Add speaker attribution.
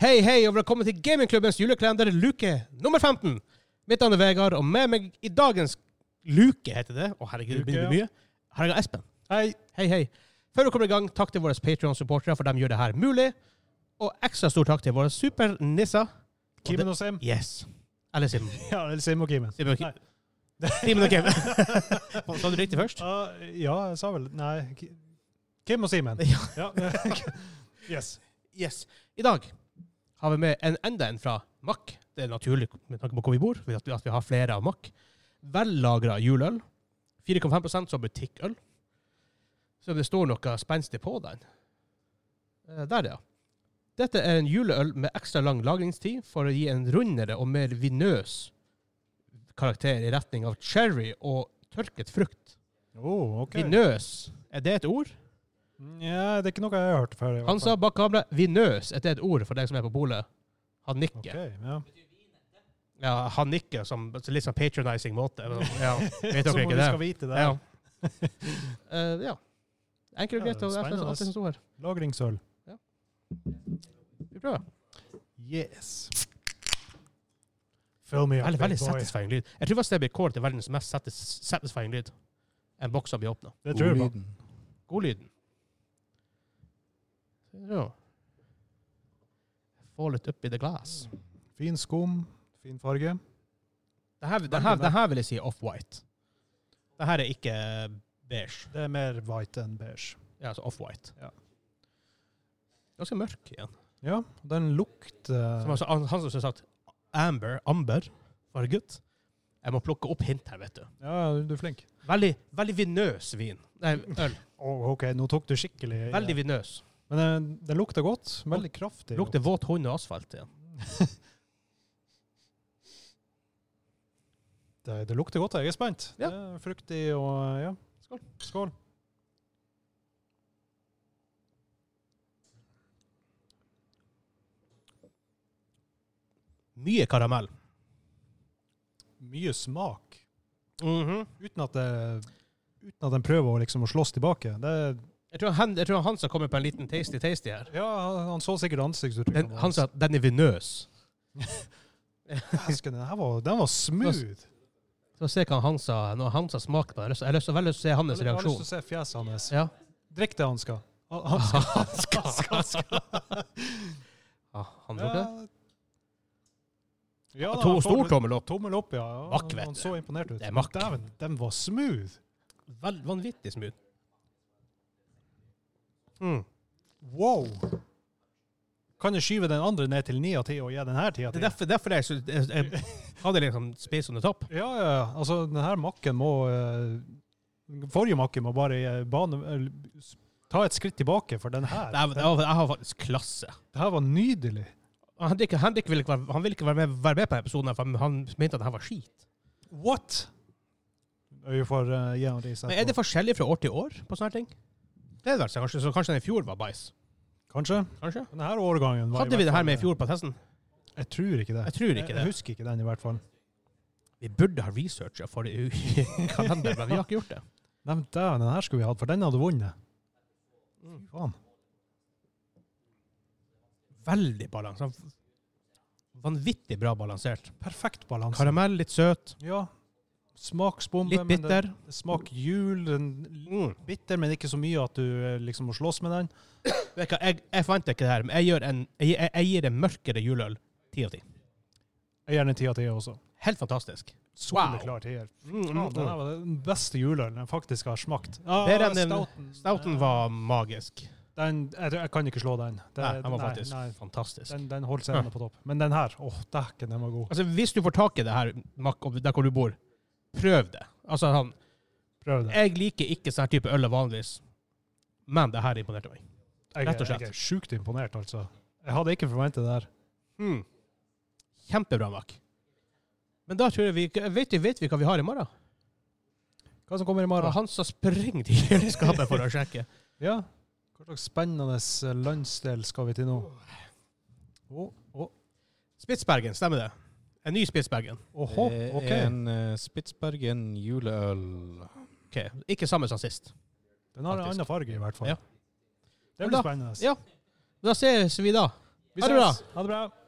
Speaker 1: Hei, hei, og velkommen til gamingklubbens julekalender luke nummer 15. Mitt navn er Vegard, og med meg i dagens luke, heter det. Å, herregud, det begynner å bli mye. Her er jeg Espen.
Speaker 2: Hei.
Speaker 1: Hei, hei. Før vi kommer i gang, takk til våre Patreon-supportere, for de gjør det her mulig. Og ekstra stor takk til våre supernisser.
Speaker 2: Kimen og Sim.
Speaker 1: Yes. Eller Simen.
Speaker 2: Ja, eller Sim og Kimen.
Speaker 1: Simen og Kim.
Speaker 2: Nei.
Speaker 1: Simen og Kim. Sa du riktig først?
Speaker 2: Ah, ja, jeg sa vel Nei. Ki- Kim og Simen.
Speaker 1: Ja.
Speaker 2: Ja. yes.
Speaker 1: Yes. I dag har vi med en, enda en fra Mack. Det er naturlig med tanke på hvor vi bor, at vi, at vi har flere av Mack. Vellagra juleøl. 4,5 som butikkøl. Så det står noe spenstig på den. Eh, Der, ja. Dette er en juleøl med ekstra lang lagringstid for å gi en rundere og mer vinøs karakter i retning av cherry og tørket frukt.
Speaker 2: Oh, ok.
Speaker 1: Vinøs, er det et ord?
Speaker 2: Ja, det er ikke noe jeg har hørt før. i hvert
Speaker 1: Han sa
Speaker 2: fall.
Speaker 1: bak kamera 'vinøs'. Er det et ord for deg som er på bolet? Han nikker.
Speaker 2: Ok, ja.
Speaker 1: Ja, han nikker som så litt sånn patronizing måte. Ja, vet dere
Speaker 2: Så må
Speaker 1: ikke
Speaker 2: vi
Speaker 1: det?
Speaker 2: skal vite det.
Speaker 1: Ja. Eh, ja. Enkelt og
Speaker 2: Ja,
Speaker 1: greit. og alt det- alt det som står her.
Speaker 2: Lagringsøl.
Speaker 1: Vi prøver.
Speaker 2: Yes. Fill me up,
Speaker 1: Veldig,
Speaker 2: big
Speaker 1: veldig
Speaker 2: boy.
Speaker 1: satisfying lyd. Jeg tror faktisk det blir kåret til verdens mest satis satisfying lyd. En boks som blir åpna.
Speaker 2: Det tror jeg på.
Speaker 1: Godlyden. Ja. Få litt oppi the glass.
Speaker 2: Fin skum, fin farge.
Speaker 1: Det her, det her, det her vil jeg si off-white. Det her er ikke beige.
Speaker 2: Det er mer white enn beige.
Speaker 1: Ja, altså off-white.
Speaker 2: Ja.
Speaker 1: Ganske mørk igjen.
Speaker 2: Ja, den eh, lukter
Speaker 1: Som altså, han, han som sa at Amber, Amber var gutt. Jeg må plukke opp hint her, vet du.
Speaker 2: Ja, du er flink.
Speaker 1: Veldig, veldig vinøs vin. Nei, øl.
Speaker 2: Å, OK, nå tok du skikkelig eh, i
Speaker 1: Veldig
Speaker 2: det.
Speaker 1: vinøs.
Speaker 2: Men den, den lukter godt. Veldig kraftig.
Speaker 1: Lukter våt hund og asfalt igjen.
Speaker 2: Det, det lukter godt. Jeg er spent.
Speaker 1: Ja.
Speaker 2: Det er fruktig og eh, ja. Skål. Skål.
Speaker 1: Mye karamell.
Speaker 2: Mye smak.
Speaker 1: Mhm.
Speaker 2: Uten at, det, uten at den prøver å, liksom, å slåss tilbake. Det,
Speaker 1: jeg, tror han, jeg tror han som kommer på en liten tasty-tasty her.
Speaker 2: ja, han så sikkert ansiktsuttrykket.
Speaker 1: Den, han sa at den er vinøs.
Speaker 2: Dæsken, den, her var, den var smooth.
Speaker 1: Så se hva han sa når han sa smak på det. Jeg har lyst- Jeg har lyst så veldig å se hans
Speaker 2: Jeg har lyst til
Speaker 1: reaksjon.
Speaker 2: å se fjeset hans.
Speaker 1: Ja.
Speaker 2: Drikk det han skal. Han- Han skal. han skal, han skal.
Speaker 1: Ah, han drakk det?
Speaker 2: Ja, da,
Speaker 1: To,
Speaker 2: han får
Speaker 1: stor
Speaker 2: vel-
Speaker 1: tommel opp.
Speaker 2: Tommel opp, ja. Ja,
Speaker 1: Makk, vet
Speaker 2: han
Speaker 1: du.
Speaker 2: så imponert ut.
Speaker 1: Det er makk.
Speaker 2: Dæven, den var smooth.
Speaker 1: Vel, vanvittig smooth. Mm.
Speaker 2: Wow! Kan jeg skyve den andre ned til 9 av 10 og gi den her 10 av
Speaker 1: Det
Speaker 2: 10?
Speaker 1: er derfor, derfor jeg, sy- jeg, jeg hadde liksom space on the top.
Speaker 2: Ja, ja. ja. Altså, den her makken må eh, Forrige makke må bare eh, bane, eller s- ta et skritt tilbake, for den her
Speaker 1: Det er- det
Speaker 2: den,
Speaker 1: er- Jeg har faktisk klasse.
Speaker 2: det her var nydelig.
Speaker 1: Og Henrik, Henrik ville ikke, være, han ville ikke være, med, være med på denne episoden, her, for han- han mente at det her var skit.
Speaker 2: What?! Vi får eh, gi han ris
Speaker 1: Men Er det
Speaker 2: etterpå.
Speaker 1: forskjellig fra år til år på sånne her ting? Det er det altså, kanskje, så kanskje den i fjor var bæsj?
Speaker 2: Kanskje.
Speaker 1: Kanskje?
Speaker 2: Den her årgangen var i
Speaker 1: Hadde vi
Speaker 2: hvert
Speaker 1: det her
Speaker 2: fall- eh,
Speaker 1: med i fjor på testen?
Speaker 2: Jeg tror ikke det.
Speaker 1: Jeg tror ikke
Speaker 2: Jeg
Speaker 1: det.
Speaker 2: husker ikke den, i hvert fall.
Speaker 1: Vi burde ha researcha for det i kalenderen, men vi har ikke gjort det.
Speaker 2: Nei, men dæven, den her skulle vi hatt, for den hadde vunnet. Fy
Speaker 1: Mm.
Speaker 2: faen.
Speaker 1: Veldig balansert. Vanvittig bra balansert.
Speaker 2: Perfekt balanse.
Speaker 1: Karamell, litt søt,
Speaker 2: Ja. Smaksbombe.
Speaker 1: litt
Speaker 2: men det-
Speaker 1: bitter.
Speaker 2: Det smaker jul. Den
Speaker 1: Mm.
Speaker 2: bitter, men ikke så mye at du eh, liksom må slåss med den.
Speaker 1: Vet du hva, Jeg, jeg forventer ikke det her, men jeg, gjør en, jeg, jeg, jeg gir en mørkere juleøl ti av ti.
Speaker 2: Jeg gir den en ti av ti også.
Speaker 1: Helt fantastisk.
Speaker 2: Soleklar tier.
Speaker 1: Mm.
Speaker 2: Ja, den her var den beste juleølen jeg faktisk har smakt. Ja,
Speaker 1: Bedre enn den-
Speaker 2: Stouten.
Speaker 1: Stouten var magisk.
Speaker 2: Den, jeg, tror- jeg kan ikke slå den. Det-
Speaker 1: Nei, den var
Speaker 2: nei,
Speaker 1: faktisk
Speaker 2: nei,
Speaker 1: fantastisk.
Speaker 2: Den, den holdt seg
Speaker 1: Ja.
Speaker 2: på topp. Men den her, åh, dæken, den var god.
Speaker 1: Altså, hvis du får tak i det her, Mack, og der hvor du bor, prøv det. Altså, han,
Speaker 2: Prøv den.
Speaker 1: jeg liker ikke sånn her type øl vanligvis, men det her imponerte meg.
Speaker 2: Jeg,
Speaker 1: rett og
Speaker 2: jeg,
Speaker 1: slett.
Speaker 2: er sjukt imponert, altså. Jeg hadde ikke forventet det her.
Speaker 1: Hmm. Kjempebra, Mack. Men da tror jeg vi Vet vi, vet vi hva vi har i morgen?
Speaker 2: Hva som kommer i
Speaker 1: Det var
Speaker 2: morgen?
Speaker 1: han som springer til kjøleskapet for å sjekke.
Speaker 2: Ja. Hva slags spennende eh, landsdel skal vi til nå? Åh, åh,
Speaker 1: Spitsbergen, stemmer det? En ny Spitsbergen.
Speaker 2: åhå,
Speaker 3: Det
Speaker 2: ok.
Speaker 3: er en eh, Spitsbergen juleøl.
Speaker 1: Ok, Ikke samme som sist.
Speaker 2: Den har en
Speaker 1: Faktisk.
Speaker 2: annen farge i hvert fall.
Speaker 1: Ja.
Speaker 2: Det
Speaker 1: Men da-
Speaker 2: blir spennende.
Speaker 1: Ja. Da ses vi da.
Speaker 2: Vi Vi
Speaker 1: Ha det bra.
Speaker 2: ses. Ha det bra.